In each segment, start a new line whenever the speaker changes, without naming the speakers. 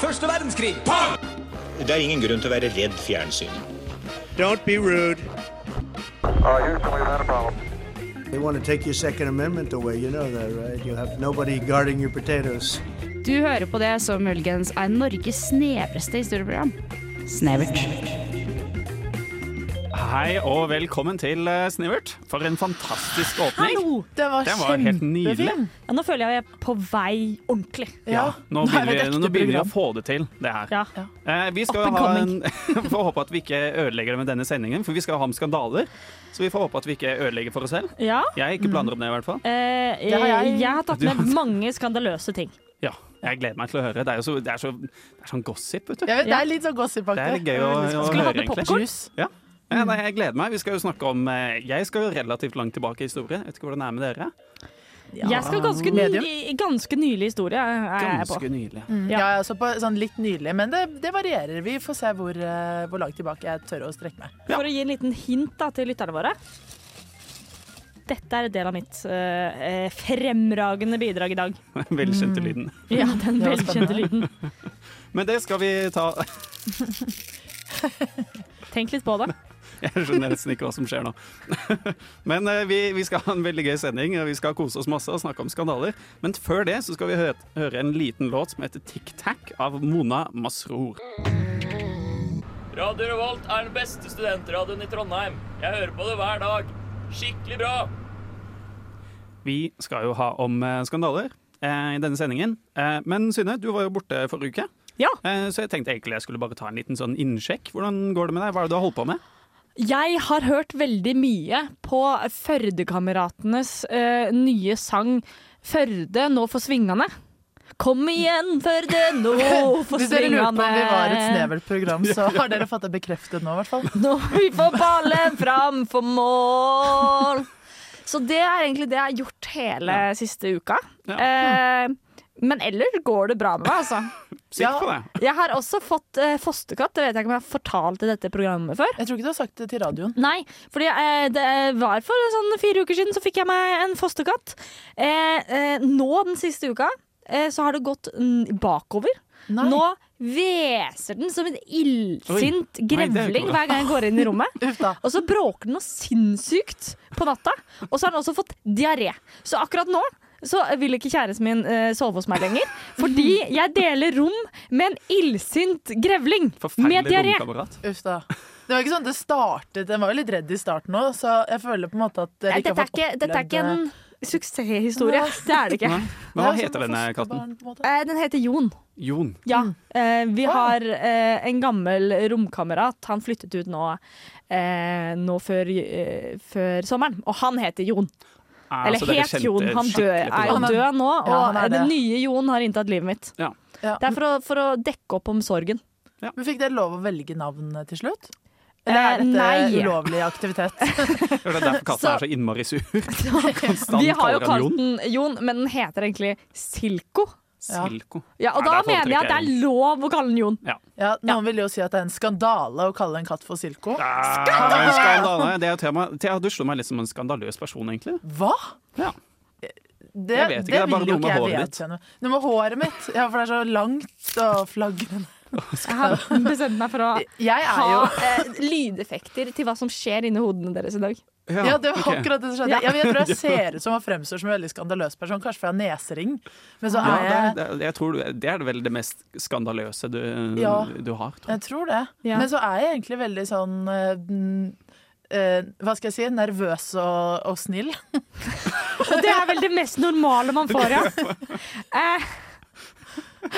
Første verdenskrig.
Det er ingen grunn til å være redd fjernsyn.
Don't be rude.
Uh, Houston, we've had a problem.
They want to take your Second Amendment away. You know that, right? You have nobody guarding your potatoes.
Du hører på det som muligens er Norges snevreste historieprogram. Snevert.
Hei og velkommen til eh, Snivert. For en fantastisk åpning.
Den var,
Den var helt nydelig.
kjempefin.
Ja, nå føler jeg jeg er på vei ordentlig.
Ja.
Nå
er det
begynner,
et
vi,
ekte
nå begynner vi å
program.
få det til, det her.
Ja.
Eh, vi skal
Up and
ha en, får håpe at vi ikke ødelegger det med denne sendingen, for vi skal ha om skandaler. Så vi får håpe at vi ikke ødelegger for oss selv.
ja.
Jeg har ikke planer om det, i hvert fall.
Eh,
Det har jeg-
jeg... har tatt
Du har
med mange skandaløse ting.
Ja, jeg gleder meg til å høre. Det er jo så, det er så, det er sånn gossip, vet du.
Jeg vet, det er litt sånn gossip
Det er
aktig.
litt gøy å, å
Skulle
høre,
hatt med
egentlig.
popcorn.
Juice.
Ja. Eh, Nei, jeg gleder meg. Vi skal jo snakke om eh, Jeg skal jo relativt langt tilbake i historie. Jeg vet ikke hvordan det er med dere.
Jeg skal ganske,
Medium.
ny, ganske nylig historie. Er jeg på.
Ganske nylig.
Ja, jeg er også på sånn litt nydelig, men det, det varierer. Vi får se hvor, eh, hvor langt tilbake jeg tør å strekke meg.
For å gi en liten hint da, til lytterne våre. Dette er en del av mitt eh, eh, fremragende bidrag i dag.
Velkjente lyden.
Ja, den
Det var
velkjente lyden.
Men det skal vi ta
Tenk litt på det.
Jeg skjønner nesten ikke hva som skjer nå. Men eh, vi, vi skal ha en veldig gøy sending, og vi skal kose oss masse og snakke om skandaler. Men før det så skal vi høre, høre en liten låt som heter Tic Tac av Mona Masrour.
Radio Revolt er den beste studentradioen i Trondheim. Jeg hører på det hver dag. Skikkelig bra!
Vi skal jo ha om eh, skandaler eh, i denne sendingen. Eh, men Synne, du var jo borte forrige uke.
Ja.
Eh, så jeg tenkte egentlig jeg skulle bare ta en liten sånn innsjekk. Hvordan går det med deg? Hva er det du har holdt på med?
Jeg har hørt veldig mye på Førdekameratenes eh, nye sang 'Førde nå for svingane'. Kom igjen, Førde, nå for
Hvis dere lurte på om vi var et
svingane.
snevert program, så har dere fått det bekreftet nå, i hvert fall.
Nå vi får ballen fram for mål. Så det er egentlig det jeg har gjort hele siste uka.
Ja.
Eh, men ellers går det bra med meg, altså.
Sikker på det?
Jeg har også fått eh, fosterkatt. Det vet jeg ikke om jeg har fortalt i dette programmet før.
Jeg tror ikke du har sagt det til radioen.
Nei, fordi eh, det var for sånn fire uker siden så fikk jeg meg en fosterkatt. Eh, eh, nå den siste uka eh, så har det gått mm, bakover.
Nei.
Nå hveser den som en illsint
Oi. Nei, det er
grevling
ikke bra.
hver gang jeg går inn i rommet.
Uff da.
Og så bråker den noe sinnssykt på natta. Og så har den også fått diaré. Så akkurat nå så vil ikke kjæresten min eh, sove hos meg lenger. Fordi jeg deler rom med en illsint grevling med
Forferdelig
diaré.
romkamerat.
Uff da. Det var ikke sånn det startet. Den var jo litt redd i starten òg, så jeg føler på en måte at dere
Nei,
ikke
dette,
har
er
fått
ikke, dette er ikke
opplevd
en suksesshistorie. Det er sånn det ikke.
Men hva heter denne katten?
Eh, Den heter Jon.
Jon.
Ja. Eh, Vi
Wow.
har eh, en gammel romkamerat. Han flyttet ut nå, eh, nå før, eh, før sommeren, og han heter Jon.
Ah,
Eller
så dere
het
kjente
Jon. Han
skikkelig på
død, er jo
det.
det.
død nå, og
Ja, han er
den
det.
nye Jon har inntatt livet mitt.
Ja.
Det er for å, for å dekke opp om sorgen.
Men fikk dere lov å velge navn til slutt?
Eh,
Eller er dette
nei.
ulovlig aktivitet?
Det er derfor katten
Så-
er så innmari sur. Konstant
Vi har
kaller
jo
han
kalt
Jon.
den Jon, men den heter egentlig Silko.
Ja.
Silko.
Ja, og
Nei,
da
der
mener jeg at
foretrekker
det er lov å kalle den Jon.
Ja, noen vil jo si at det er en skandale å kalle en katt for Silko.
Ah, skandale! Det er jo tema. Thea, du slår meg litt som en skandaløs person, egentlig.
Hva?
Ja.
Det,
Jeg vet ikke, det er bare
vil jo
noe med
ikke jeg
håret ditt.
vedkjenne. Noe med håret mitt. Ja, for det er så langt og flagrende.
Jeg har bestemt meg for å
Jeg er
ha
jo
eh, lydeffekter til hva som skjer inni hodene deres i dag.
Ja, det var
ok.
akkurat det som skjedde.
Ja.
Ja, men jeg tror jeg ser ut som og fremstår som en veldig skandaløs person, kanskje for jeg har nesering. Men så
Ja,
er
det, er,
jeg
det, er- jeg tror det er vel det mest skandaløse du,
Ja.
du har. Tror jeg.
Jeg tror det.
Ja.
Men så er jeg egentlig veldig sånn eh, mm, eh, hva skal jeg si? Nervøs og, og snill.
Og det er vel det mest normale man får, ja. Eh,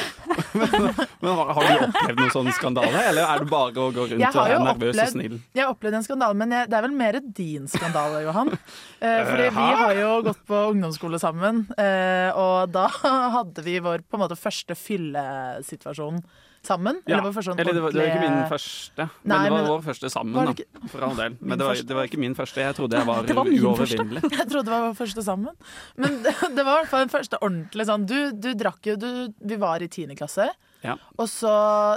Men har, har du opplevd noen sånn skandale, eller er det bare å gå rundt
Jeg
og
har
være
jo
nervøs og
opplevd,
snill?
jeg har opplevd en skandale, men jeg, det er vel mer din skandale, Johan. Eh, fordi
Eh,
vi
hæ?
har jo gått på ungdomsskole sammen, eh, og da hadde vi vår på en måte første fyllesituasjon sammen.
Ja.
Eller vår første sånn
Eller det var, det var ikke min
ordentlige-
første, men
Nei,
det var
men-
vår første sammen,
Var det
da. For all del.
Min
Men det var,
første?
det var ikke min første. Jeg trodde jeg var,
Det var min første.
uovervinnelig.
Jeg trodde det var vår første sammen. Men det det var i hvert fall den første ordentlige sånn. Du, du drakk jo du, Vi var i tiende klasse.
Ja.
Og så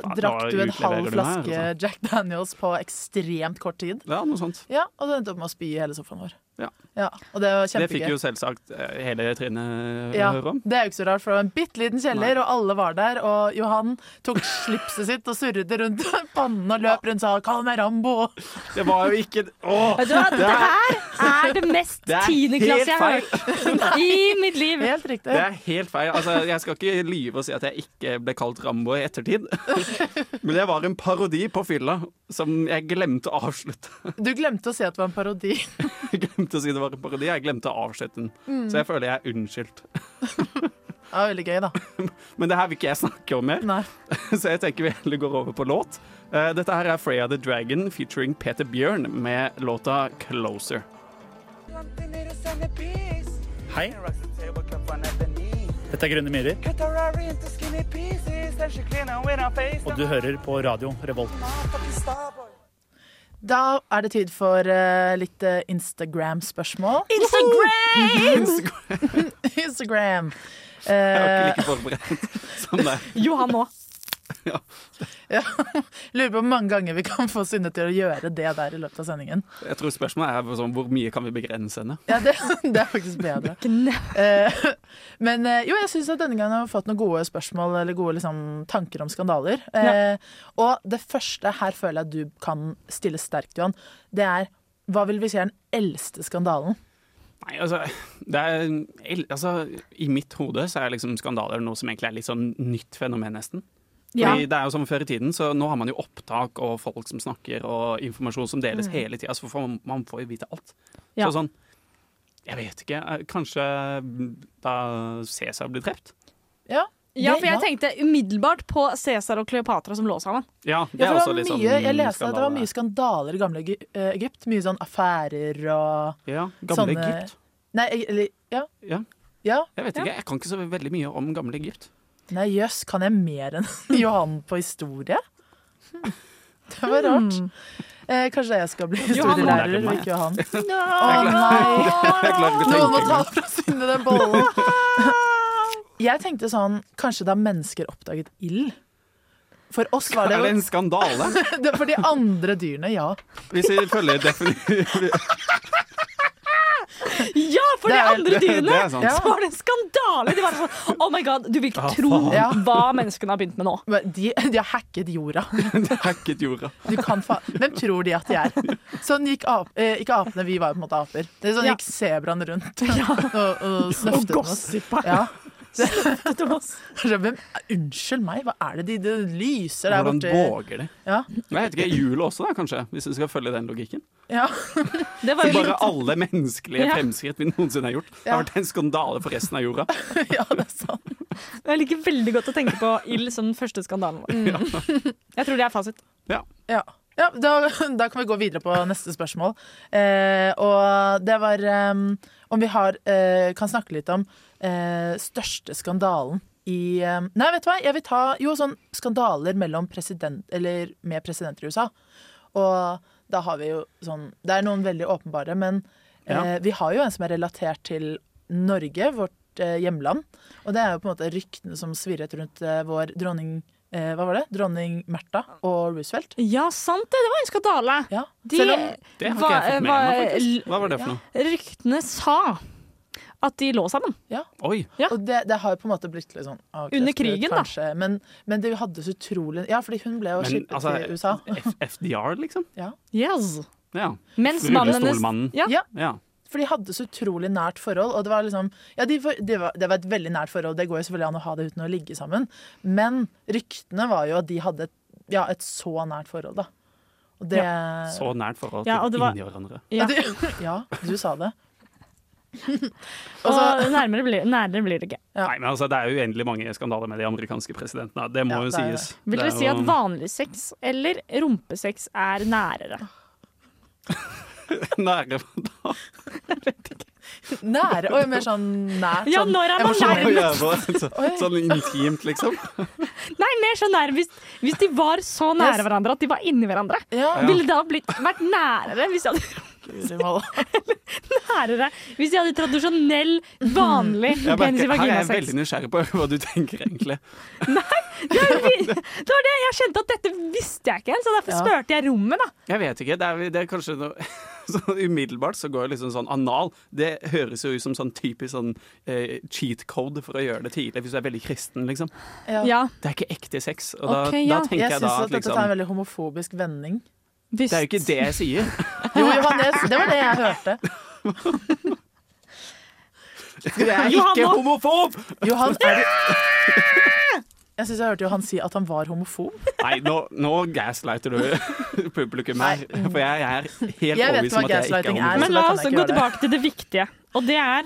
nå
drakk du en
utleverer
halv
du meg,
flaske
altså.
Jack Daniels på ekstremt kort tid.
Ja, noe sånt.
Ja, Og du endte opp med å spy i hele sofaen vår.
Ja.
Ja, og det var
Det fikk
kjempegøy.
jo selvsagt eh, hele trinnet eh,
Ja,
høre om.
det er jo ikke så rart, for det var en bitte liten kjeller, og alle var der. Og Johan tok slipset sitt og surret det rundt pannen og løp rundt og sa 'kall meg Rambo'.
Det var jo ikke Åh!
Vet du hva, dette her er det mest
Det er
tiendeklasse
helt
jeg har hørt i mitt liv.
Helt riktig.
Det er helt feil. Altså, jeg skal ikke lyve og si at jeg ikke ble kalt Rambo i ettertid. Men det var en parodi på fylla som jeg glemte å avslutte.
Du glemte å si at det var en parodi.
Jeg glemte å si det var en parodi, jeg glemte å avslutte den.
Mm.
Så jeg føler jeg er unnskyldt.
Det var veldig gøy, da.
Men det her vil ikke jeg snakke om mer,
Nei.
så jeg tenker vi heller går over på låt. Eh, Dette her er Freya the Dragon featuring Peter Bjørn med låta 'Closer'.
Hei.
Dette er Grønne myrer, og du hører på radio Revolt.
Da er det tid for eh, litt eh, Instagram-spørsmål.
Instagram!
Instagram.
Jeg var
Eh,
ikke like forberedt som deg.
Johan nå.
ja. Lurer på hvor mange ganger vi kan få Synne til å gjøre det der i løpet av sendingen.
Jeg tror spørsmålet er sånn, hvor mye kan vi begrense henne?
Ja, Det, det er faktisk bedre. Eh, men eh, jo, jeg syns at denne gangen har vi fått noen gode spørsmål eller gode liksom, tanker om skandaler. Eh, Og det første her føler jeg at du kan stille sterkt, Johan. Det er hva vil vi si er den eldste skandalen?
Nei, altså, det er, el- altså I mitt hode så er liksom skandaler noe som egentlig er litt sånn nytt fenomen, nesten.
Ja.
Fordi det er jo som før i tiden, så Nå har man jo opptak og folk som snakker og informasjon som
Mm.
deles hele tida, så får man, man får jo vite alt.
Ja.
Så sånn Jeg vet ikke. eh, Kanskje da Cæsar ble drept?
Ja,
Ja,
det-
for jeg tenkte umiddelbart på Cæsar og Kleopatra som lå sammen.
Ja, det er
Ja, for
også
det
litt
var
sånn
mye, jeg leste at det var
skandale.
mye skandaler i gamle Egy- eh, Egypt. Mye sånn affærer og
Ja, Gamle
sånne-
Egypt.
Nei, e- eller Ja.
Ja.
Ja,
Jeg vet ikke, jeg kan ikke så veldig mye om gamle Egypt.
Nei, jøss, kan jeg mer enn Johan på historie? Hm. Det var rart. Eh, kanskje jeg skal bli
Johan
historielærer,
lærer
og
meg.
ikke Johan.
Å
Jeg klarer ikke å
Noen må
tenke
ta
engang.
fra Synne den bollen. Jeg tenkte sånn Kanskje da mennesker oppdaget ild? For oss var det
Er det
jo
en skandale?
det- For de andre dyrene, ja.
Hvis vi følger definisjonen
Ja, for
Det
de
er-
andre dyrene!
Det er sant.
Ja.
Så var det en skandale! De var sånn Oh my god, du vil ikke tro
Ja.
hva menneskene har begynt med nå.
Men De, de har hacket jorda.
Hacket jorda.
Du kan fa Hvem tror de at de er? Sånn gikk ap eh, ikke apene, vi var jo på en måte aper. Det er sånn
Ja.
gikk sebraen rundt og, og snøftet
Og
oss.
gossipa.
Ja.
Thomas.
Så Hvem, ah, unnskyld meg, hva er det de, de lyser der
Hvordan
borte?
våger de?
Ja.
Jeg vet ikke, Jul også, da, kanskje, hvis vi skal følge den logikken.
Ja.
Det var jo
Bare alle menneskelige
Ja.
fremskritt vi noensinne har gjort. Det har vært en skandale for resten av jorda.
ja, det er sant.
Jeg liker veldig godt å tenke på ild som den første skandalen vår. Jeg tror det er fasit.
Ja. Ja, da, da kan vi gå videre på neste spørsmål. Eh, og det var eh, om vi har, eh, kan snakke litt om eh, største skandalen i eh, Nei, vet du hva? Jeg vil ta jo sånn skandaler mellom president, eller med presidenter i USA. Og da har vi jo sånn Det er noen veldig åpenbare, men eh, vi har jo en som er relatert til Norge, vårt eh, hjemland. Og det er jo på en måte ryktene som svirret rundt eh, vår dronning eh, Hva var det? Dronning Märtha og Roosevelt.
Ja, sant det! Det var en skandale.
Ja.
De,
Selv om
Det har ikke jeg fått med
hva-
meg, faktisk. Hva var det for noe?
Ryktene sa at de lå sammen.
Oi.
Ja.
Og det, det har jo på en måte blitt litt sånn avkreftet,
Under krigen, da.
kanskje. Men, men det hadde så utrolig Ja, fordi hun ble jo
Men
skiltet
altså,
til USA.
F FDR, liksom?
Yes.
Ja.
Mens
Rune
mannen
Stålmannen.
hennes ja,
ja.
For de hadde så utrolig nært forhold. Og det var liksom Ja, de, var- de var, det var et veldig nært forhold, det går jo selvfølgelig an å ha det uten å ligge sammen. Men ryktene var jo at de hadde et, ja, et så nært forhold, da. Og det
Så nært forhold til
Ja, og det var-
inni hverandre.
ja.
ja.
Du, ja, du sa det. Altså,
Og
altså-
så-
nærmere blir, nærmere blir det ikke.
Ja.
Nei, men altså, Det er jo uendelig mange skandaler med de amerikanske presidentene. Det må
Ja,
jo
det er det.
sies.
Vil
Det
dere
er
si
jo-
at vanlig sex eller rumpesex er nærere?
Nære da?
Nære og mer sånn nært.
Ja,
sånn
når er man
emosjonelt.
nærmest?
Sånn, sånn intimt, liksom.
Nei, mer så nær hvis, hvis de var så nære
Yes.
hverandre at de var inni hverandre.
Ja.
Ville det da blitt, vært nærere hvis de hadde nærere Hvis de hadde tradisjonell, vanlig
Jeg
penis i
merker, her er jeg
vaginasex?
veldig nysgjerrig på hva du tenker, egentlig.
Det er jo vi- det var det jeg kjente at dette visste jeg ikke, så derfor
Ja.
spurte jeg rommet, da.
Jeg vet ikke. Det er, det er kanskje noe Så umiddelbart så går jeg liksom sånn anal. Det høres jo ut som sånn typisk sånn eh, cheat code for å gjøre det tidlig, hvis du er veldig kristen, liksom.
Ja,
Det er ikke ekte sex. Og da,
Ok, ja.
da tenker
Jeg
jeg,
syns
da
at
at
dette tar
liksom
en veldig homofobisk vending.
visst.
Det er jo ikke det jeg sier.
Jo, Johannes, det var det jeg hørte.
Du er ikke homofob!
Johan, er du Jeg syns jeg hørte Johan si at han var homofob.
Nei, nå, nå gaslighter du publikum her. For jeg er helt
Jeg
overbevist om
vet hva
at jeg ikke
gaslighting
er
er.
homofob.
så
Men
da
la
kan
oss
jeg ikke
gå
gjøre det.
tilbake til det viktige, og det er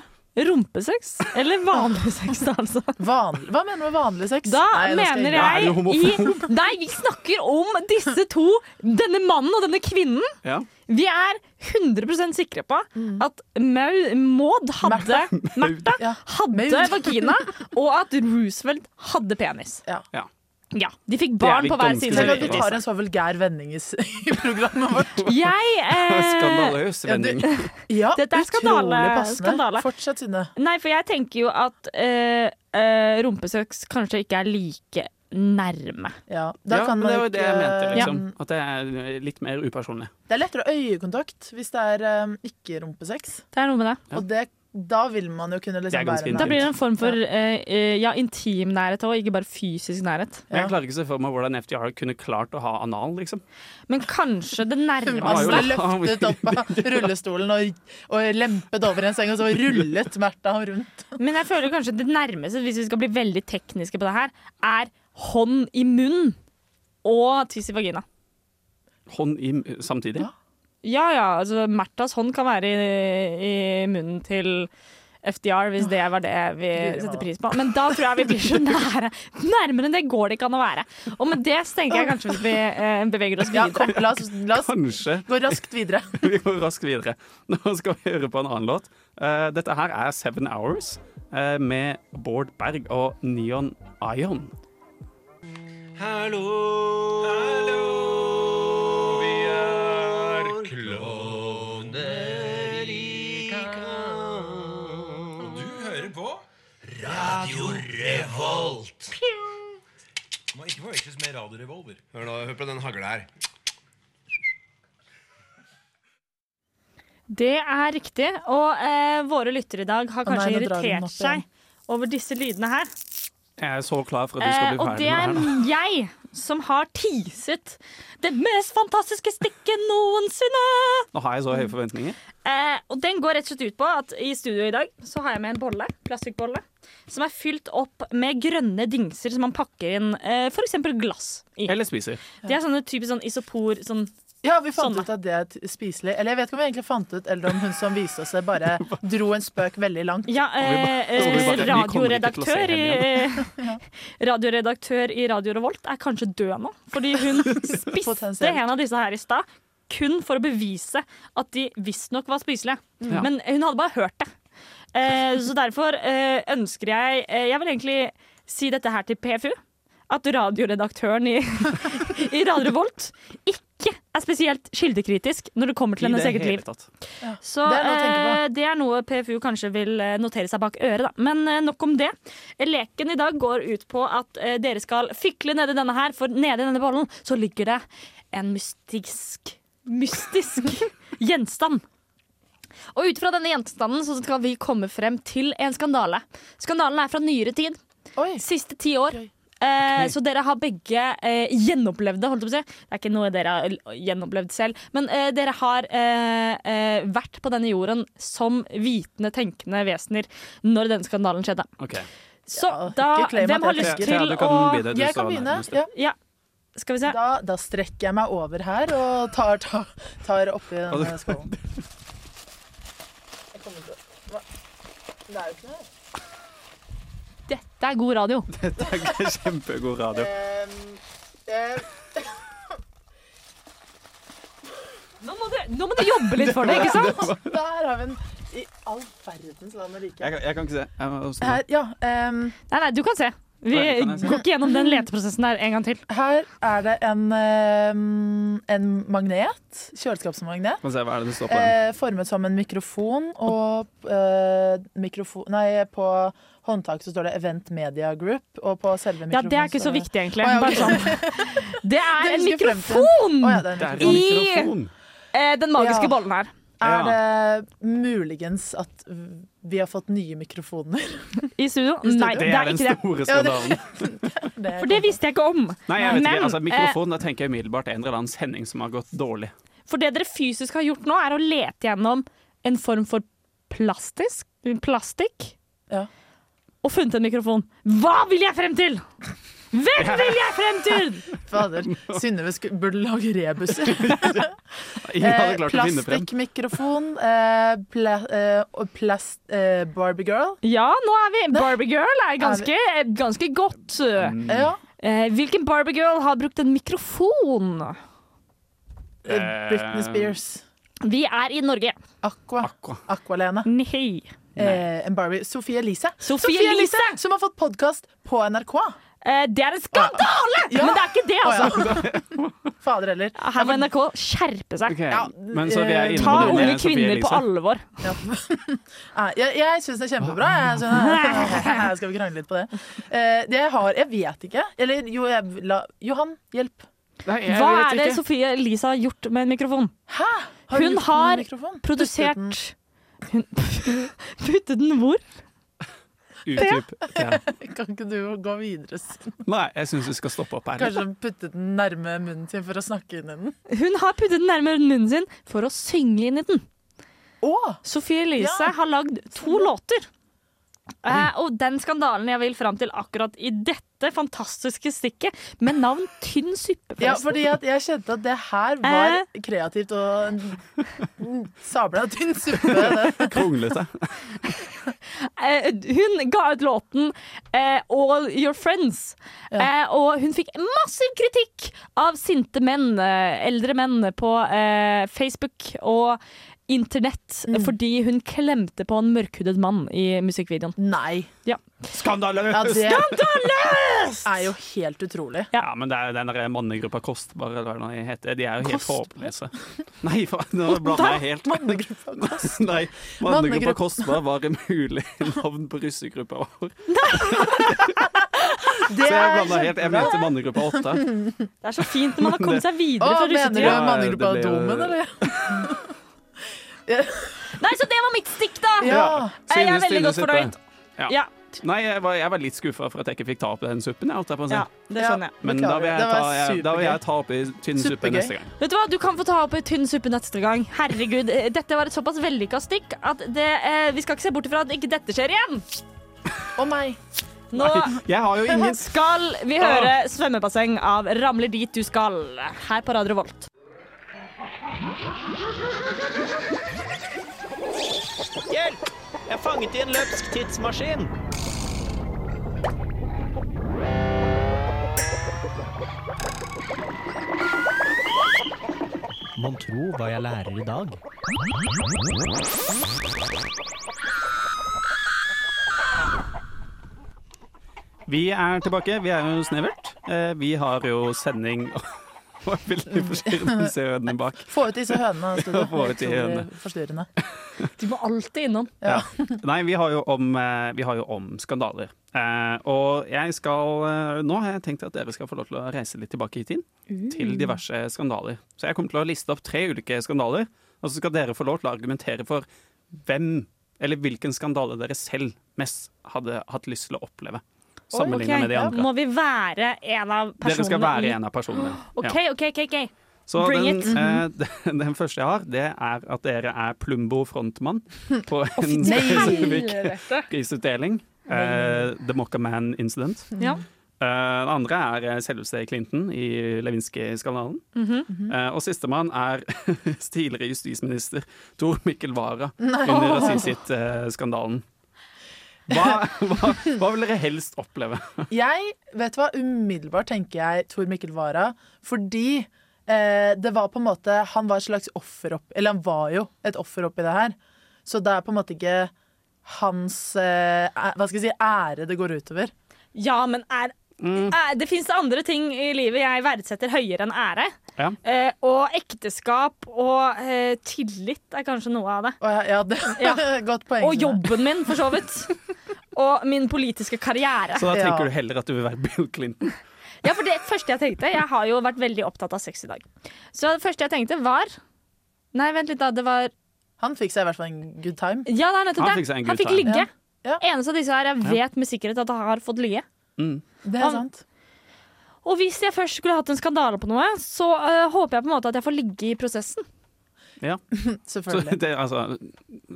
rumpesex eller vanlig sex, altså.
Vanlig. Hva mener du med vanlig sex?
Da
Nei, nå skal
mener
Da er
jeg
du
i, Nei, vi snakker om disse to. Denne mannen og denne kvinnen.
Ja.
Vi er 100 sikre på at Mau, Maud hadde Märtha
Ja.
hadde
Maud.
vagina, og at Roosevelt hadde penis.
Ja.
Ja.
Ja, De fikk
er
barn
vi
på hver
ganske
sin
Tenk at
sikre
vi
på.
tar en så vulgær vending i, s- i programmet vårt.
Jeg eh,
Skandaløs
Ja, du-
vending.
Ja,
Dette er skandale-
utrolig passende.
skandale.
Fortsett, Synne.
Nei, for jeg tenker jo at eh, eh, rumpesøks kanskje ikke er like nærme.
Ja, da
ja,
kan
men
man
det var jo
ikke-
det jeg mente, liksom.
Ja.
At det er litt mer upersonlig.
Det er lettere øyekontakt hvis det er um, ikke rumpesex.
Det er noe med det.
Ja.
Og det, da vil man jo kunne
Det er
liksom
ganske
være
Da
nær.
blir det en form for eh, eh, ja, intim nærhet òg, ikke bare fysisk nærhet.
Men
Ja.
jeg klarer ikke å se for meg hvordan FDR kunne klart å ha anal, liksom.
Men kanskje det
Man
nærmeste
ble løftet opp av rullestolen og, og lempet over en seng, og så rullet Märtha ham rundt.
Men jeg føler kanskje det nærmeste, hvis vi skal bli veldig tekniske på det her, er hånd i munn og tiss i vagina.
Hånd i samtidig.
Ja.
Ja ja, altså Märthas hånd kan være i, i munnen til FDR, hvis det var det vi
Guri
setter
malla.
pris på. Men da tror jeg vi blir så nære. Nærmere enn det går det ikke an å være. Og med det så tenker jeg kanskje vi eh, beveger oss
Ja,
videre.
kom, la oss, la oss
Kanskje.
gå raskt videre.
Vi går raskt videre. Nå skal vi høre på en annen låt. Eh, dette her er Seven Hours eh, med Bård Berg og Neon Ion.
Hør nå, hør på den hagla her.
Det er riktig. Og eh, våre lyttere i dag har
Å nei,
kanskje
nå drar vi den opp
irritert seg over disse lydene her.
Jeg er så klar for at du skal
Eh,
bli
og
ferdig med
det
det
er
her. nå.
jeg som har teaset det mest fantastiske stikket noensinne.
Nå har jeg så høye forventninger.
Eh, og den går rett og slett ut på at i studio i dag så har jeg med en bolle, plastikkbolle, som er fylt opp med grønne dingser som man pakker inn eh, f.eks. glass i.
Eller spiser.
De er sånne typisk sånn isopor sånn
Ja, vi fant
Sånn, da.
ut at det er t- spiselig. Eller jeg vet ikke om vi egentlig fant ut, eller om hun som viste oss det, bare dro en spøk veldig langt.
Ja,
Og
eh,
vi bare-
eh,
vi kommer ikke til å se
radioredaktør i
henne
Radioredaktør i Radio Revolt er kanskje død nå, fordi hun spiste
Potensielt.
en av disse her i stad. Kun for å bevise at de visstnok var spiselige.
Mm. Ja.
Men hun hadde bare hørt det. Eh, så derfor eh, ønsker jeg eh, Jeg vil egentlig si dette her til PFU. At radioredaktøren i, i Radio Revolt ikke er spesielt kildekritisk når det kommer til hennes eget liv.
tatt.
Så
Det er noe å tenke på.
eh, det er noe PFU kanskje vil eh, notere seg bak øret, da. Men eh, nok om det. Leken i dag går ut på at eh, dere skal fikle nedi denne her, for nedi denne bollen så ligger det en mystisk Mystisk gjenstand. Og ut fra denne gjenstanden så skal vi komme frem til en skandale. Skandalen er fra nyere tid.
Oi,
Siste ti år.
Gøy.
Eh, så dere har begge eh, gjenopplevd det, holdt jeg på å si. Det er ikke noe dere har l- gjenopplevd selv. Men eh, dere har eh, eh, vært på denne jorden som vitende, tenkende vesener når denne skandalen skjedde.
Ok.
Så
Ja, ikke
da
claim
Hvem
at
har
jeg
lyst
tenker.
til
du
å
kan begynne. Du sånn,
jeg
står
kan
der,
begynne.
du står.
Ja,
Ja, skal vi se.
da, da strekker jeg meg over her og tar, tar, tar oppi denne skålen. Jeg kommer til å- Hva? Det er jo ikke noe.
Dette er god radio.
Dette er ikke kjempegod radio.
Ehm, eh,
Nå må, du, nå må du jobbe litt for det, ikke sant?
der har vi en I all verdens land og rike.
Jeg kan, jeg kan ikke se. Jeg må også-
Her, ja, ehm,
Nei, nei, du kan se. Vi
Nei, kan jeg se?
går ikke gjennom den leteprosessen der en gang til.
her er det en, ehm, en magnet. Kjøleskapsmagnet.
Få se hva er det det står på den.
Eh, formet som en mikrofon, og eh, mikrofon, nei, på håndtaket så står det Event Media Group, og på selve
Ja,
mikrofonen
Det er ikke så
står det-
viktig, egentlig.
Å, ja, ok.
Bare sånn. Det er
Det
en
husker jeg frem til.
mikrofon!
Å ja, det er en
Det er
mikrofon.
en
i-
mikrofon.
Eh, den magiske
Ja.
bollen her.
Er
Ja.
det muligens at vi har fått nye mikrofoner?
I studio?
I studio?
Nei,
Det
det
er
er
den
ikke det.
store
Ja, det-
skandalen.
Det
For det visste jeg ikke om.
Nei, jeg vet ikke.
Men,
Altså,
eh,
mikrofon, da tenker jeg umiddelbart en eller annen sending som har gått dårlig.
eh, For det dere fysisk har gjort nå, er å lete gjennom en form for plastisk plastikk.
Ja.
Og funnet en mikrofon. Hva vil jeg frem til?! Hvem vil jeg frem til?!
Fader. Synnøve sku- burde lage rebuser.
Ingen hadde
Eh,
klart å finne frem.
Plastikkmikrofon. Eh, pla, eh, og plast, eh, Barbie girl.
Ja, nå er vi Barbie girl er ganske, eh, ganske godt.
Ja.
Eh, hvilken Barbie girl har brukt en mikrofon?
Eh, Britney Spears.
Vi er i Norge.
Aqua.
Aqua.
Aqualene.
Nei.
Eh, en Barbie. Sophie Elise.
Mm. Sophie
Elise,
Elise!
Som har fått podkast på NRK.
Eh, det er en skandale!
Ja.
Men det er ikke det, altså.
Fader heller.
Her må NRK skjerpe seg.
Ok,
Ja,
Men så vi er
eh,
inne
Ta
på noe mer
unge
enn Sophie
kvinner på
Elise.
alvor.
Nei, jeg jeg syns det er kjempebra. Jeg, så, skal vi krangle litt på det? Eh, det jeg har Jeg vet ikke. Eller jo, jeg la Johan, hjelp.
Nei, jeg
Hva
vet
er det
ikke.
Sofie Elise har gjort med en mikrofon?
Hæ? du
Hun
gjort noe
har
med mikrofon?
Produsert
Puttet den-
Hun Puttet den hvor?
Utdyp. Ja.
Kan ikke du gå videre? Sven?
Nei, jeg syns vi skal stoppe opp her.
Kanskje hun puttet den nærme munnen sin for å snakke inn i den?
Hun har puttet den nærmere munnen sin for å synge inn i den.
Å!
Sophie Elise
Ja.
har lagd to låter. Eh, og den skandalen jeg vil fram til akkurat i dette fantastiske stikket, med navn Tynn suppe,
Ja,
forresten.
fordi at jeg kjente at det her var
Eh.
kreativt og sabla tynn suppe. Det.
Kronglete.
Eh, hun ga ut låten eh, All Your Friends. Eh, og hun fikk massiv kritikk av sinte menn, eh, eldre menn, på eh, Facebook og internett fordi hun klemte på en mørkhudet mann i musikkvideoen.
Nei.
Skandaløst!
Ja,
Ja,
det er jo helt utrolig.
men det er jo den der mannegruppa Kostbar, eller hva de heter. De er jo helt
Kostbar?
håpløse. Nei, for, nå blander jeg helt.
Mannegruppa Kostbar.
Nei, mannegruppa
Mannegrupp-
Kostbar var en mulig navn på russegruppa vår. Så
Det
jeg
er
blanda helt. Jeg mente mannegruppa Åtte.
Det er så fint når man har kommet seg
Å,
videre fra
mener du
russetida.
Ja, det
mannegruppa
ble jo-
Domen, eller?
Nei, så det var mitt stikk, da!
Ja.
Jeg er
Synes
veldig
Tine
godt
sitter.
fornøyd.
Ja.
Ja. Sånn,
Nei, jeg var, jeg var litt skuffa for at jeg ikke fikk ta opp den suppen. Jeg, holdt jeg på å si.
ja, det
Ja.
skjønner jeg.
Men da
Beklager,
vil, jeg
det var
ta, jeg, da vil
supergøy.
jeg ta opp i tynn suppe
Supergøy.
neste gang.
Vet du hva, Du kan få ta opp i tynn suppe neste gang. Herregud, eh, Dette var et såpass vellykka stikk at det, eh, vi skal ikke se bort ifra at ikke dette skjer igjen.
Å nei.
Nå
Jeg har jo ingen
skal vi høre svømmebasseng av Ramler dit du skal, her på Radio Volt.
Hjelp! Jeg er fanget i en løpsk tidsmaskin.
Mon tro hva jeg lærer i dag?
Vi er tilbake. Vi er jo snevert. Eh, Vi har jo sending Det var veldig forstyrrende å se øynene bak.
Få ut disse hønene. Studio.
Få ut de hønene.
Utrolig Forstyrrende.
De må alltid innom.
Ja. Nei, vi har jo om, eh, vi har jo om skandaler. Eh, og jeg skal eh, Nå har jeg tenkt at dere skal få lov til å reise litt tilbake i tid.
Mm.
Til diverse skandaler. Så jeg kommer til å liste opp tre ulike skandaler, og så skal dere få lov til å argumentere for hvem eller hvilken skandale dere selv mest hadde hatt lyst til å oppleve. Sammenlignet med de andre.
Må vi være en av personene?
Dere skal
i-
være en av personene. Ja.
OK, OK, OK. ok.
Så
Bring
den,
it.
eh, den, den første jeg har, det er at dere er Plumbo-frontmann på en
nei.
spesifikk prisutdeling. Eh, The Mocca Man Incident.
Ja.
Eh, den andre er eh, selveste Clinton i Lewinsky-skandalen.
Mm-hmm.
eh, og sistemann er tidligere justisminister Tor Mikkel Wara under rasistskandalen. Hva, hva, hva vil dere helst oppleve?
Jeg, vet du hva, umiddelbart tenker jeg Tor Mikkel Wara, fordi eh, det var på en måte Han var et slags offer opp Eller han var jo et offer oppi det her. Så det er på en måte ikke hans eh, æ- Hva skal jeg si, ære det går utover.
ja, men er,
Mm.
er, det fins andre ting i livet jeg verdsetter høyere enn ære.
Ja.
Eh, og ekteskap og eh, tillit er kanskje noe av det.
Og jeg, ja, det
Ja.
godt poeng.
Og jobben min, for så vidt. Og min politiske karriere.
Så da
Ja.
tenker du heller at du vil være Bill Clinton.
Ja, for det første jeg tenkte Jeg har jo vært veldig opptatt av sex i dag. Så det første jeg tenkte var Nei, vent litt, da. Det var
Han fikk seg i hvert fall en good time.
Ja, det er nettopp
Han
det.
fikk seg en
Han
good
fikk
time.
ligge.
Ja.
Eneste av disse her jeg
Ja.
vet med sikkerhet at han har fått ligge.
Mm.
Det er
Han-
sant.
Og hvis jeg først skulle hatt en skandale på noe, så øh, håper jeg på en måte at jeg får ligge i prosessen.
Ja. Så
Selvfølgelig.
det, altså,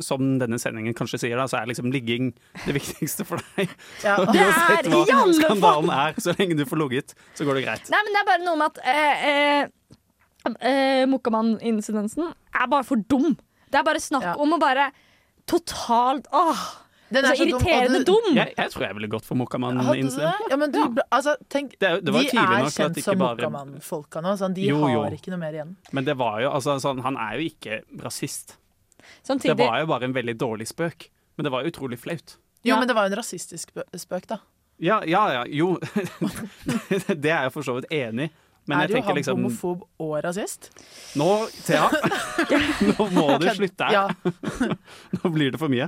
som denne sendingen kanskje sier, da, så er liksom ligging det viktigste for deg.
Ja.
Og
Det er
uansett hva
i alle fall-
skandalen er, så lenge du får ligget, så går det greit.
Nei, men det er bare noe med at eh, eh, eh, Mokkamann-incidensen er bare for dum. Det er bare snakk
Ja.
om å bare totalt Åh!
Den
Så
er så dum, og
irriterende
du-
dum!
Jeg, jeg tror jeg ville gått for
Mm. Hadde du det?
Mokkamann-incidenten.
Ja, men du, ble- altså, tenk,
Det er jo- det var
de
tidlig
er
nok at
kjent
ikke
som
bare-
Mokkamann-folka nå. Sånn, de
Jo, jo.
har ikke noe mer igjen.
Men det var jo, altså, sånn, han er jo ikke rasist. Det
Samtidig
var jo bare en veldig dårlig spøk. Men det var jo utrolig flaut.
Jo,
Ja.
men det var jo en rasistisk spø- spøk, da.
Ja, ja, ja, jo. det er jeg for så vidt enig i. Men jeg
er jo
tenker
han
liksom
homofob og rasist?
Nå, Thea! Nå må du slutte her.
Ja.
Nå blir det for mye.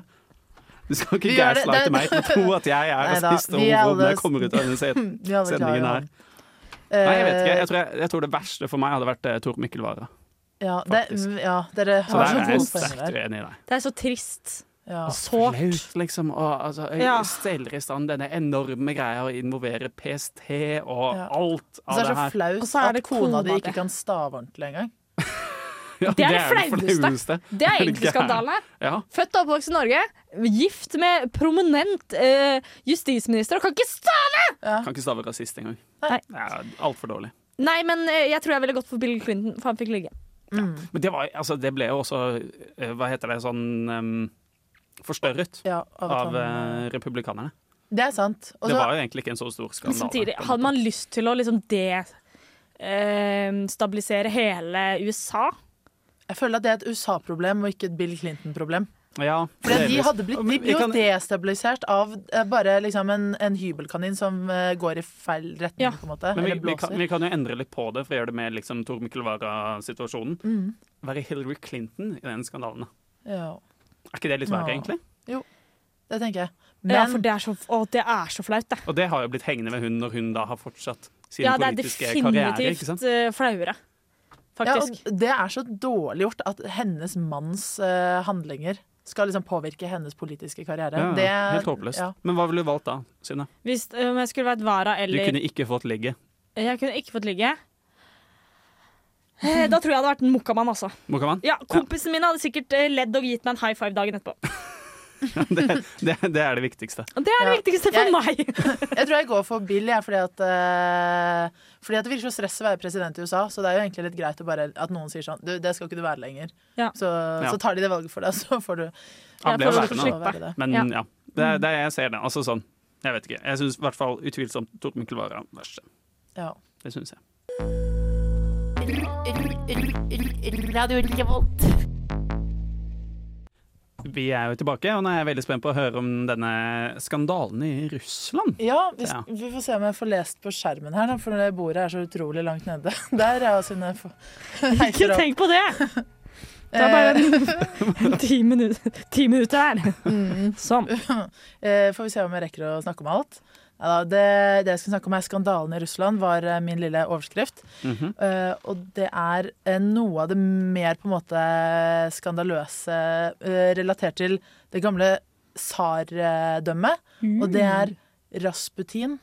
Du skal ikke
Vi gjør det.
gaslighte
Det-
meg til å tro at jeg er
Neida,
rasist og
vi er
homofob når
alle-
jeg kommer ut av denne se-
Vi alle klarer
sendingen her.
han.
Nei, jeg vet ikke.
Eh,
Jeg tror, jeg, jeg tror det verste for meg hadde vært eh, Tor Mikkel Wara.
eh, Ja, det, mm,
faktisk.
ja, dere
Så der
har så
er jeg
gode
sterkt
poenger der.
uenig i deg.
Det er så trist.
Ja. Altså,
Sårt.
Flaut, liksom. Og, altså, jeg
Ja.
steller i stand denne enorme greia å involvere PST og
Ja.
alt
Og så
av
er
det
det så
her.
flaut
Og så er
at
det
kona
kona
di ikke
di.
kan stave ordentlig engang.
Ja,
Det er det flaueste. Det er egentlig
gærent?
skandalen her.
Ja.
Født og oppvokst i Norge, gift med prominent eh, justisminister og kan ikke stå
Kan ikke stave rasist engang.
Nei.
Ja, Altfor dårlig.
Nei, men eh, jeg tror jeg ville gått for Bill Clinton, for han fikk ligge.
Men det, var, altså, det ble jo også eh, Hva heter det sånn em, Forstørret
Ja, av at
av
han,
eh, republikanerne.
det er sant. Og
det
så-
var jo egentlig ikke en så stor
Men
skandale.
samtidig, hadde man lyst til å liksom destabilisere hele USA?
jeg føler at det er et USA-problem og ikke et Bill Clinton-problem.
ja,
Fordi de
delvis.
hadde blitt de
Men
blir
jeg
jo
kan-
destabilisert av eh, bare liksom en, en hybelkanin som eh, går i feil retning,
Ja.
på en måte.
Men vi,
eller
vi, kan,
blåser.
vi kan jo endre litt på det for å gjøre det mer liksom, Tor Mikkel Wara-situasjonen.
Mm.
Være Hillary Clinton i den skandalen. da.
Ja,
Er ikke det litt verre,
Ja.
egentlig?
det tenker jeg.
ja,
Men
for det er så, å, det er så flaut, det.
Og det har jo blitt hengende ved hun når hun da har fortsatt sin
Ja, det er
politiske karriere. ikke sant?
definitivt eh, flauere,
ja, og
faktisk.
det er så dårlig gjort at hennes manns eh, handlinger skal liksom påvirke hennes politiske karriere.
Ja,
det,
helt håpløst.
Ja.
Men hva ville du valgt da, Synne?
Hvis eh, om jeg skulle vært Vara
Du
eller
kunne ikke fått ligge.
Jeg kunne ikke fått ligge. Eh, Da tror jeg jeg hadde vært en mokkamann, altså.
Mokaman?
Ja, Kompisen min hadde sikkert eh, ledd og gitt meg en high five dagen etterpå.
Det, det, det er det viktigste.
Og Det er det
Ja.
viktigste
Jeg-
for meg!
Jeg tror jeg går for Bill, jeg, fordi at eh, Fordi at det virker så stress å være president i USA, så det er jo egentlig litt greit å bare, at noen sier sånn Du, det skal ikke du være lenger.
Ja.
Så,
Ja.
så tar de det valget for deg, så får du
Han ble
Jeg
jo værende,
får
så
da.
får du
slippe.
være det.
Men
Ja.
ja, det, er- det, er- jeg ser det. Altså sånn, jeg vet ikke. Jeg syns i hvert fall utvilsomt Tor Mikkel Wara verst.
Ja.
Det syns jeg. Vi er jo tilbake, og nå er jeg veldig spent på å høre om denne skandalen i Russland.
Ja, hvis,
Ja.
vi får se om jeg får lest på skjermen her, da, for det bordet er så utrolig langt nede. Der er Synne f- heiser
Ikke
opp.
tenk på det! Det er bare en, ti, minutter, ti minutter her. Sånn.
Eh, får vi se om jeg rekker å snakke om alt. Neida, det, det jeg skulle snakke om er skandalen i Russland, var eh, min lille overskrift.
Mhm.
Eh, og det er eh, noe av det mer på en måte skandaløse eh, relatert til det gamle tsardømmet,
Mm.
og det er Rasputin.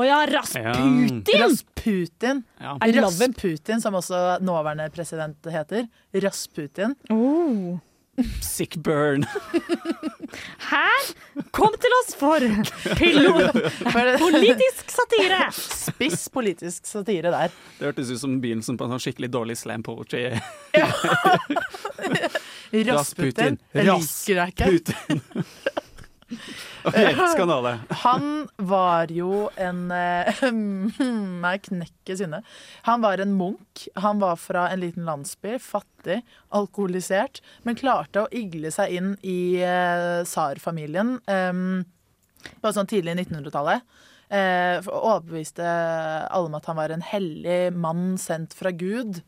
Å ja, Rasputin!
Rasputin.
Ja.
I love him.
Rasputin, som også nåværende president heter. Rasputin.
Oh.
Sick burn.
Her! Kom til oss for pilot,
For
politisk satire!
spiss politisk satire der.
Det hørtes ut som begynnelsen på en sånn skikkelig dårlig slam poetry.
Rasputin.
Rasputin.
Jeg liker deg ikke.
Putin. OK, skandale.
Han var jo en eh, Nei, knekke sinne. Han var en munk. Han var fra en liten landsby. Fattig, alkoholisert. Men klarte å igle seg inn i eh, tsarfamilien eh, på sånn tidlig 1900-tallet. Eh, for- og overbeviste alle om at han var en hellig mann sendt fra Gud.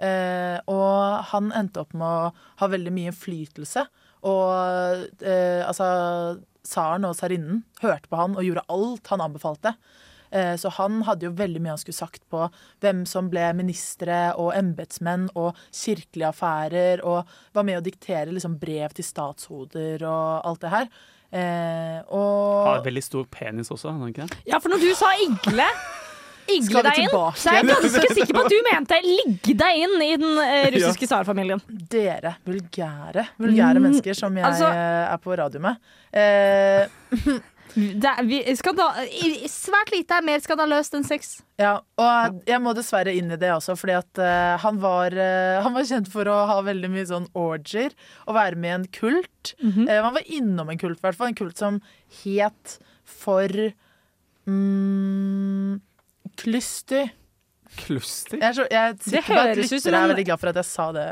Eh, og han endte opp med å ha veldig mye innflytelse. Og eh, altså Tsaren og tsarinnen hørte på han og gjorde alt han anbefalte. Eh, Så han hadde jo veldig mye han skulle sagt på hvem som ble ministre og embetsmenn og kirkelige affærer, og var med å diktere liksom brev til statshoder og alt det her. Eh, og
Har veldig stor penis også, har han ikke det?
Ja, for når du sa igle Igle
Skal vi
deg inn,
tilbake?
så er jeg ganske sikker på at du mente ligge deg inn i den eh, russiske tsarfamilien.
Dere vulgære, vulgære
Mm,
mennesker som jeg
altså-
eh, er på radio med. Eh,
Det er- vi- skanda- i- Svært lite er mer skandaløst enn sex.
ja, og jeg må dessverre inn i det også, fordi at eh, han, var, eh, han var kjent for å ha veldig mye sånn orgier og være med i en kult.
Mhm.
Eh, han var innom en kult, i hvert fall. En kult som het for mm, Klysty.
Klustig?
Jeg, er så, jeg
Det
sitter på at
høres ut som
lyttere er
en-
veldig glad for at jeg sa det.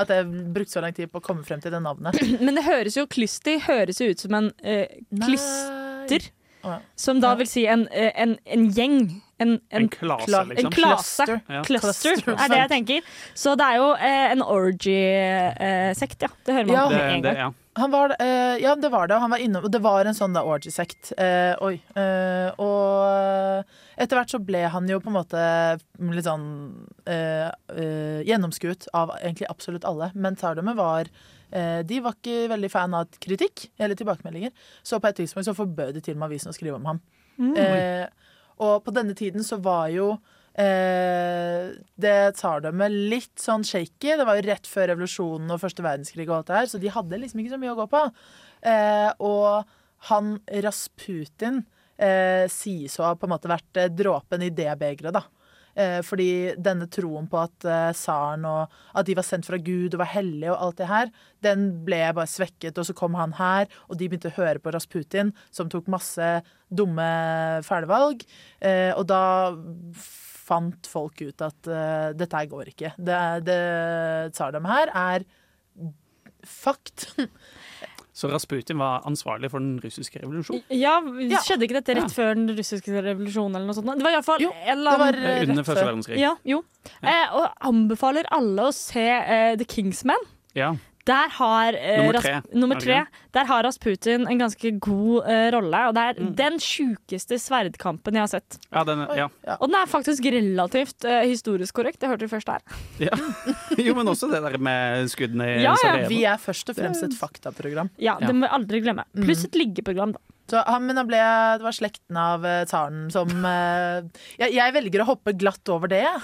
At jeg brukte så lang tid på å komme frem til det navnet.
Men det høres jo klystig høres jo ut som en eh, klyster.
Å, ja.
Som da vil si en, eh, en, en gjeng. En, en,
En klase,
Kla-
liksom.
en klase.
Cluster.
Ja.
Cluster, sånn.
Cluster.
er det jeg tenker. Så det er jo eh, en orgy-sekt, ja. Det hører man
Ja.
med
Det,
en
det,
gang.
ja.
Han var, eh, ja, det var det. Han var innom, og det var en sånn da orgy-sekt. Eh, oi. Eh, og etter hvert så ble han jo på en måte litt sånn eh, eh, gjennomskuet av egentlig absolutt alle. Men Tardumet var eh, De var ikke veldig fan av kritikk eller tilbakemeldinger. Så på et tidspunkt så forbød de til og med avisen å skrive om ham. Eh, og på denne tiden så var jo Eh, det tsardømmet litt sånn shaky. Det var jo rett før revolusjonen og første verdenskrig, og alt det her, så de hadde liksom ikke så mye å gå på. Eh, og han Rasputin eh, sies å ha på en måte vært eh, dråpen i det begeret, da. Eh, fordi denne troen på at eh, tsaren og at de var sendt fra Gud og var hellige og alt det her, den ble bare svekket, og så kom han her, og de begynte å høre på Rasputin, som tok masse dumme fæle valg. Eh, og da fant folk ut at eh, dette her går ikke. Det, er- det tsardømmet her er fucked.
Så Rasputin var ansvarlig for den russiske revolusjonen?
Ja,
Ja.
Skjedde ikke dette rett før den russiske revolusjonen? eller noe sånt? Det var iallfall
Jo,
en
Det
eller
var
annen
eh,
Under
rett
første
før.
verdenskrig.
ja, jo. Eh, og anbefaler alle å se eh, The Kingsman.
Ja.
Der har, eh,
Nummer
Ras-
tre.
nummer
Er det
tre.
ikke
Der har Rasputin en ganske god eh, rolle. Og det er
Mm.
den sjukeste sverdkampen jeg har sett.
Ja, den, ja.
Og den er faktisk relativt eh, historisk korrekt. Det hørte du først her.
ja. Jo, men også det der med skuddene i
Ja, ja,
Sarajevo.
Vi er først og fremst et faktaprogram.
Ja, Mm. Det må vi aldri glemme. Pluss et liggeprogram, da.
Så han, men han ble, det var slekten av eh, tsaren som eh, jeg, jeg velger å hoppe glatt over det. jeg.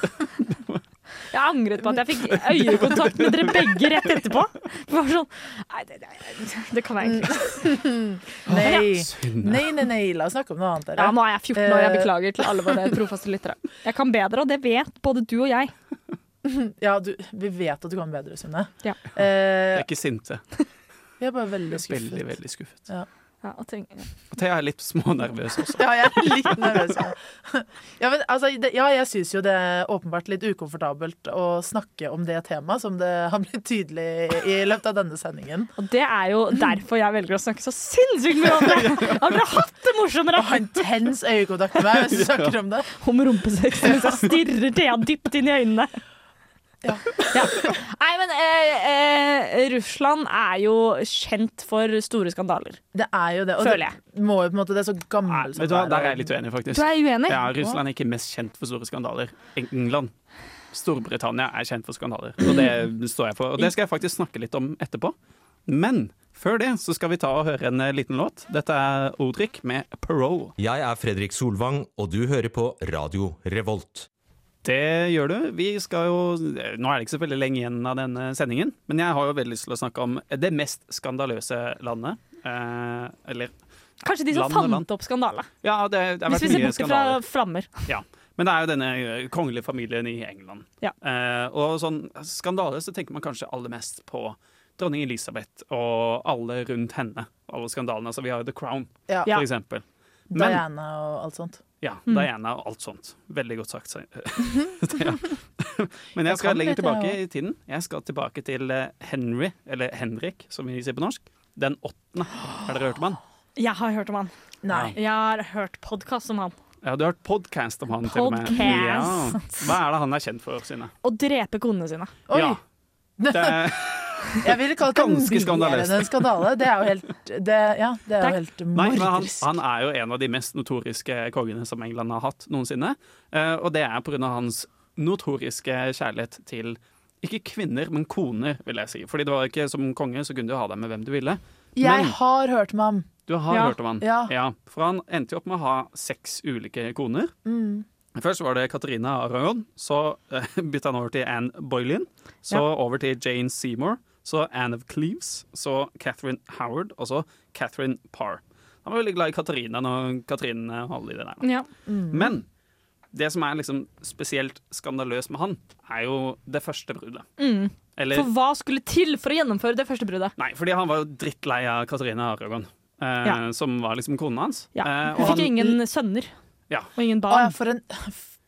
Jeg angret på at jeg fikk øyekontakt med dere begge rett etterpå. Det var sånn Nei, det, det, det kan jeg egentlig ikke.
Nei.
Synd.
nei, nei, nei, la oss snakke om noe annet.
Ja,
Dere.
nå er jeg 14 år, jeg
Eh.
beklager til alle våre trofaste lyttere. Jeg kan bedre, og det vet både du og jeg.
Ja, du, vi vet at du kan bedre, Sunne.
Ja.
Jeg
Eh,
er ikke sinte.
vi er bare veldig
Veldig,
skuffet.
veldig skuffet.
Ja, og tenk,
Og Thea er litt smånervøs også.
Ja, jeg er litt nervøs. Ja, ja, men, altså, det, ja jeg syns jo det er åpenbart litt ukomfortabelt å snakke om det temaet, som det har blitt tydelig i løpet av denne sendingen.
Og det er jo derfor jeg velger å snakke så sinnssykt mye om det! Har dere hatt det morsommere?
Å ha intens øyekontakt med meg mens du snakker om det.
Om rumpesex mens jeg stirrer Thea dypt inn i øynene.
Ja.
Nei, men eh, eh, Russland er jo kjent for store skandaler.
Det er jo det. Og
Føler jeg.
det må jo på en måte Det altså, er så
Nei,
gammel
vet du hva, Der er jeg litt uenig,
Du
faktisk.
er uenig?
Ja, Russland er ikke mest kjent for store skandaler. England. Storbritannia er kjent for skandaler, og det står jeg for. Og det skal jeg faktisk snakke litt om etterpå. Men før det så skal vi ta og høre en eh, liten låt. Dette er Odrik med 'Parole'.
Jeg er Fredrik Solvang, og du hører på Radio Revolt.
Det gjør du. Vi skal jo Nå er det ikke så veldig lenge igjen av denne sendingen, men jeg har jo veldig lyst til å snakke om det mest skandaløse landet. Eh, eller
Kanskje de som
Land og
fant
land.
opp skandale.
Ja, det, det har
Hvis
vært
vi ser
mye
bort fra
skandaler.
flammer.
Ja. Men det er jo denne eh, kongelige familien i England.
Ja.
Eh, og sånn skandale så tenker man kanskje aller mest på dronning Elisabeth og alle rundt henne. Alle skandalene. Altså, vi har jo The Crown,
Ja.
Ja.
for eksempel. Men-
Diana og alt sånt.
Ja, Diana og alt sånt. Veldig godt sagt. sier- Thea. Men jeg
Jeg
skal
kan
lenger
dette, jeg
tilbake i tiden. Jeg skal tilbake til eh, Henry, eller Henrik, som vi sier på norsk. Den åttende. Har dere hørt om han?
Jeg har hørt om han.
Nei.
Jeg har hørt podkast om han.
Ja, du har hørt podcast om han, til og med. Ja.
Podcast.
Hva er det han er kjent for, Synne?
Å drepe konene sine.
Oi!
Ja. Det,
Jeg vil kalle det
Ganske
en
skandaløst.
bierende skandale. Det er jo helt det, Ja, det er jo helt
Nei, men han,
morderisk.
han er jo en av de mest notoriske kongene som England har hatt noensinne. Eh, og det er pga. hans notoriske kjærlighet til ikke kvinner, men koner, vil jeg si. Fordi det var ikke som konge, så kunne du ha deg med hvem du ville.
Jeg
men
har hørt med ham.
du har
Ja.
hørt om han.
Ja.
For han endte jo opp med å ha seks ulike koner.
Mm.
Først var det Katarina Aragon, så eh, bytta han over til Anne Boylin. Så
Ja.
over til Jane Seymour, så Anne of Cleves, så Catherine Howard og så Catherine Parr. Han var veldig glad i Katarina når Katrin eh, holdt i det der. da.
Ja.
Men det som er liksom spesielt skandaløst med han, er jo det første bruddet.
Mm.
Eller-
For hva skulle til for å gjennomføre det første bruddet?
Nei, fordi han var jo drittlei av Katarina Aragon, eh,
Ja.
som var liksom konen hans.
Ja.
Eh, og
Hun fikk
han-
ingen sønner
Ja.
og ingen
Å ja,
barn.
for en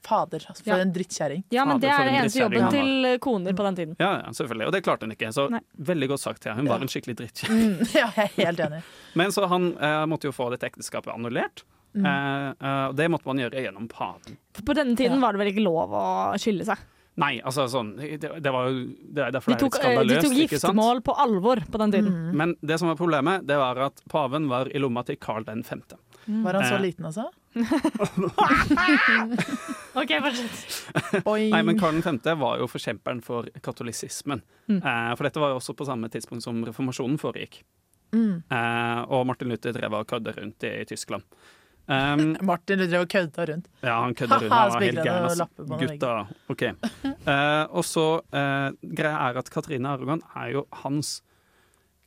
Fader, altså, for
Ja.
en drittkjerring.
Ja, men det
Fader, for
er den
en
eneste
drittkjerring
jobben
han
til eh, koner på den tiden.
Ja, ja, selvfølgelig. Og det klarte hun ikke. Så
Nei.
veldig godt sagt, ja. Hun var en skikkelig drittkjerring.
Mm, ja, jeg er helt enig.
Men så han eh, måtte jo få dette ekteskapet annullert.
Mm.
Eh, eh, og det måtte man gjøre gjennom paven.
For på denne tiden var det vel ikke lov å skille seg.
Nei, altså sånn Det, det var jo det er derfor
De
det er
tok,
litt
eh, de
skandaløst.
tok
ikke sant?
giftermål Mm. på alvor på den tiden.
Men det som var problemet, det var at paven var i lomma til Carl 5.
Var han så
Eh.
liten, altså?
OK, fortsett.
Oi.
Nei, men Karl 5. var jo forkjemperen for katolisismen.
Mm.
Eh, for dette var jo også på samme tidspunkt som reformasjonen foregikk.
Mm.
Eh, og Martin Luther drev og kødda rundt i Tyskland. Um,
Martin, du drev og kødda rundt.
Ja, han kødder rundt.
Haha,
Han var helt
spikrene
gæren.
og
ass.
lapper på den
Gutta. OK. Eh, og så eh, greia er at Katrine Aragon er jo hans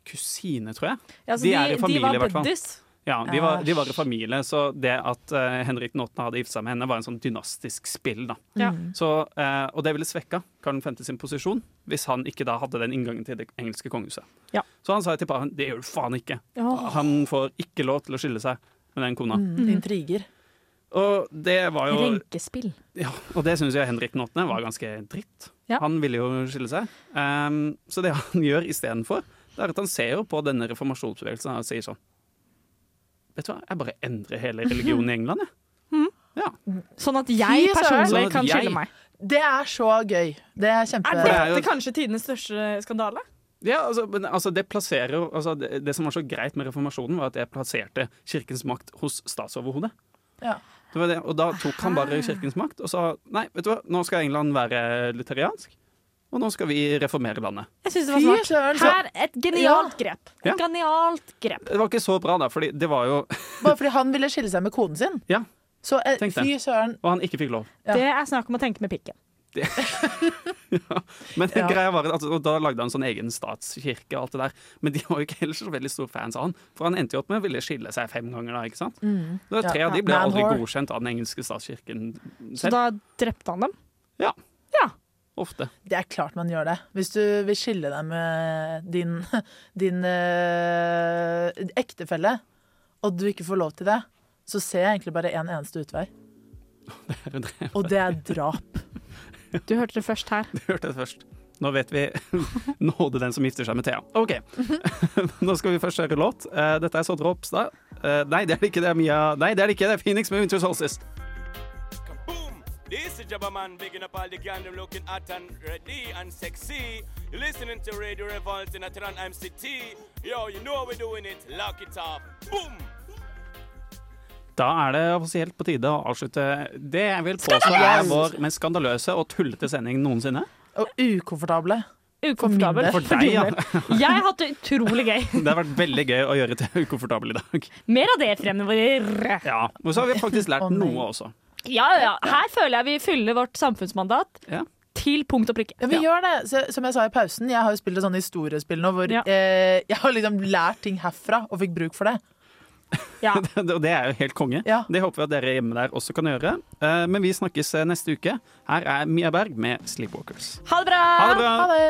kusine, tror jeg.
Ja, så
de,
de-
er
de
i familie,
var
i hvert fall.
buddies?
Ja, de var, de var i familie, så det at eh, Henrik den 8. hadde giftet seg med henne, var en sånn dynastisk spill, da.
Ja.
Mm.
Så, eh, og det ville svekka Karl 5. sin posisjon hvis han ikke da hadde den inngangen til det engelske kongehuset.
Ja.
Så han sa til paven det gjør du faen ikke.
Åh.
Han får ikke lov til å skille seg med den kona.
Mm, intriger.
Og det var jo
Renkespill.
ja, og det syns jeg Henrik den 8. var ganske dritt.
Ja.
Han ville jo skille seg. Ehm, så det han gjør istedenfor, det er at han ser jo på denne reformasjonsbevegelsen og sier sånn Vet du hva, jeg bare endrer hele religionen i England, jeg.
Sånn at
Fy
jeg
søren.
personlig
Sånn at
kan
jeg-
skille meg.
Det er så gøy. Det er kjempe...
Er
det er jo-
dette kanskje tidenes største skandale?
Ja, altså, men, altså Det plasserer jo altså, det, det som var så greit med reformasjonen, var at jeg plasserte kirkens makt hos statsoverhodet.
Ja.
Det var det, og da tok han bare kirkens makt og sa nei, vet du hva, nå skal England være lutheriansk, og nå skal vi reformere landet.
Jeg syns det
Fy
var
søren,
smart.
så-
Her, et genialt grep. Et
Ja.
genialt grep.
Det var ikke så bra, da, fordi det var jo
Bare fordi han ville skille seg med koden sin.
Ja,
Så eh,
Tenk det.
fy søren.
og han ikke fikk lov.
Ja.
Det er snakk om å tenke med pikken.
Men
Ja.
greia var at og Da lagde han sånn egen statskirke og alt det der. Men de var jo ikke heller så veldig store fans av han. For han endte jo opp med å ville skille seg fem ganger, da. ikke sant?
Mm.
Det var
Ja,
tre av
ja.
de ble aldri
Manhor.
godkjent av den engelske statskirken selv.
Så da drepte han dem.
Ja.
Ja.
Ofte.
Det er klart man gjør det. Hvis du vil skille deg med din, din eh, ektefelle, og du ikke får lov til det, så ser jeg egentlig bare én en eneste utvei,
Det er det.
og det er drap.
Du hørte det først her.
Du hørte det først. Nå vet vi nåde den som gifter seg med Thea. OK. Nå skal vi først høre låt. Eh, Dette er Sondre Opstad. Eh, Nei, det er det ikke. Det er Mia Nei, det er det ikke. Det er Phoenix med Winter Solstice.
This is Jabba Man bigging up all the gandom looking hot and ready and sexy. You're listening to Radio Revolt in Atran MCT. Yo, you know how we're doing it. Lock it up. Boom!
Da er det offisielt på tide å avslutte det jeg vil påstå er vår mest skandaløse og tullete sending noensinne.
Og ukomfortable.
Ukomfortabel.
For deg,
din
ja.
del. Jeg har hatt det utrolig gøy.
Det har vært veldig gøy å gjøre til ukomfortabel i dag.
Mer av det fremover.
Ja, Og så har vi faktisk lært noe også.
Ja, ja. Her føler jeg vi fyller vårt samfunnsmandat
Ja.
til punkt og prikke.
Ja, vi gjør det. Så, som jeg sa i pausen, jeg har jo spilt et sånt historiespill nå hvor
Ja.
eh, jeg har liksom lært ting herfra og fikk bruk for det.
Ja.
Og det er jo helt konge.
Ja.
Det håper vi at dere hjemme der også kan gjøre. Eh, Men vi snakkes eh, neste uke. Her er Mia Berg med Sleepwalkers.
Ha det bra!
Ha det bra!
Ha det!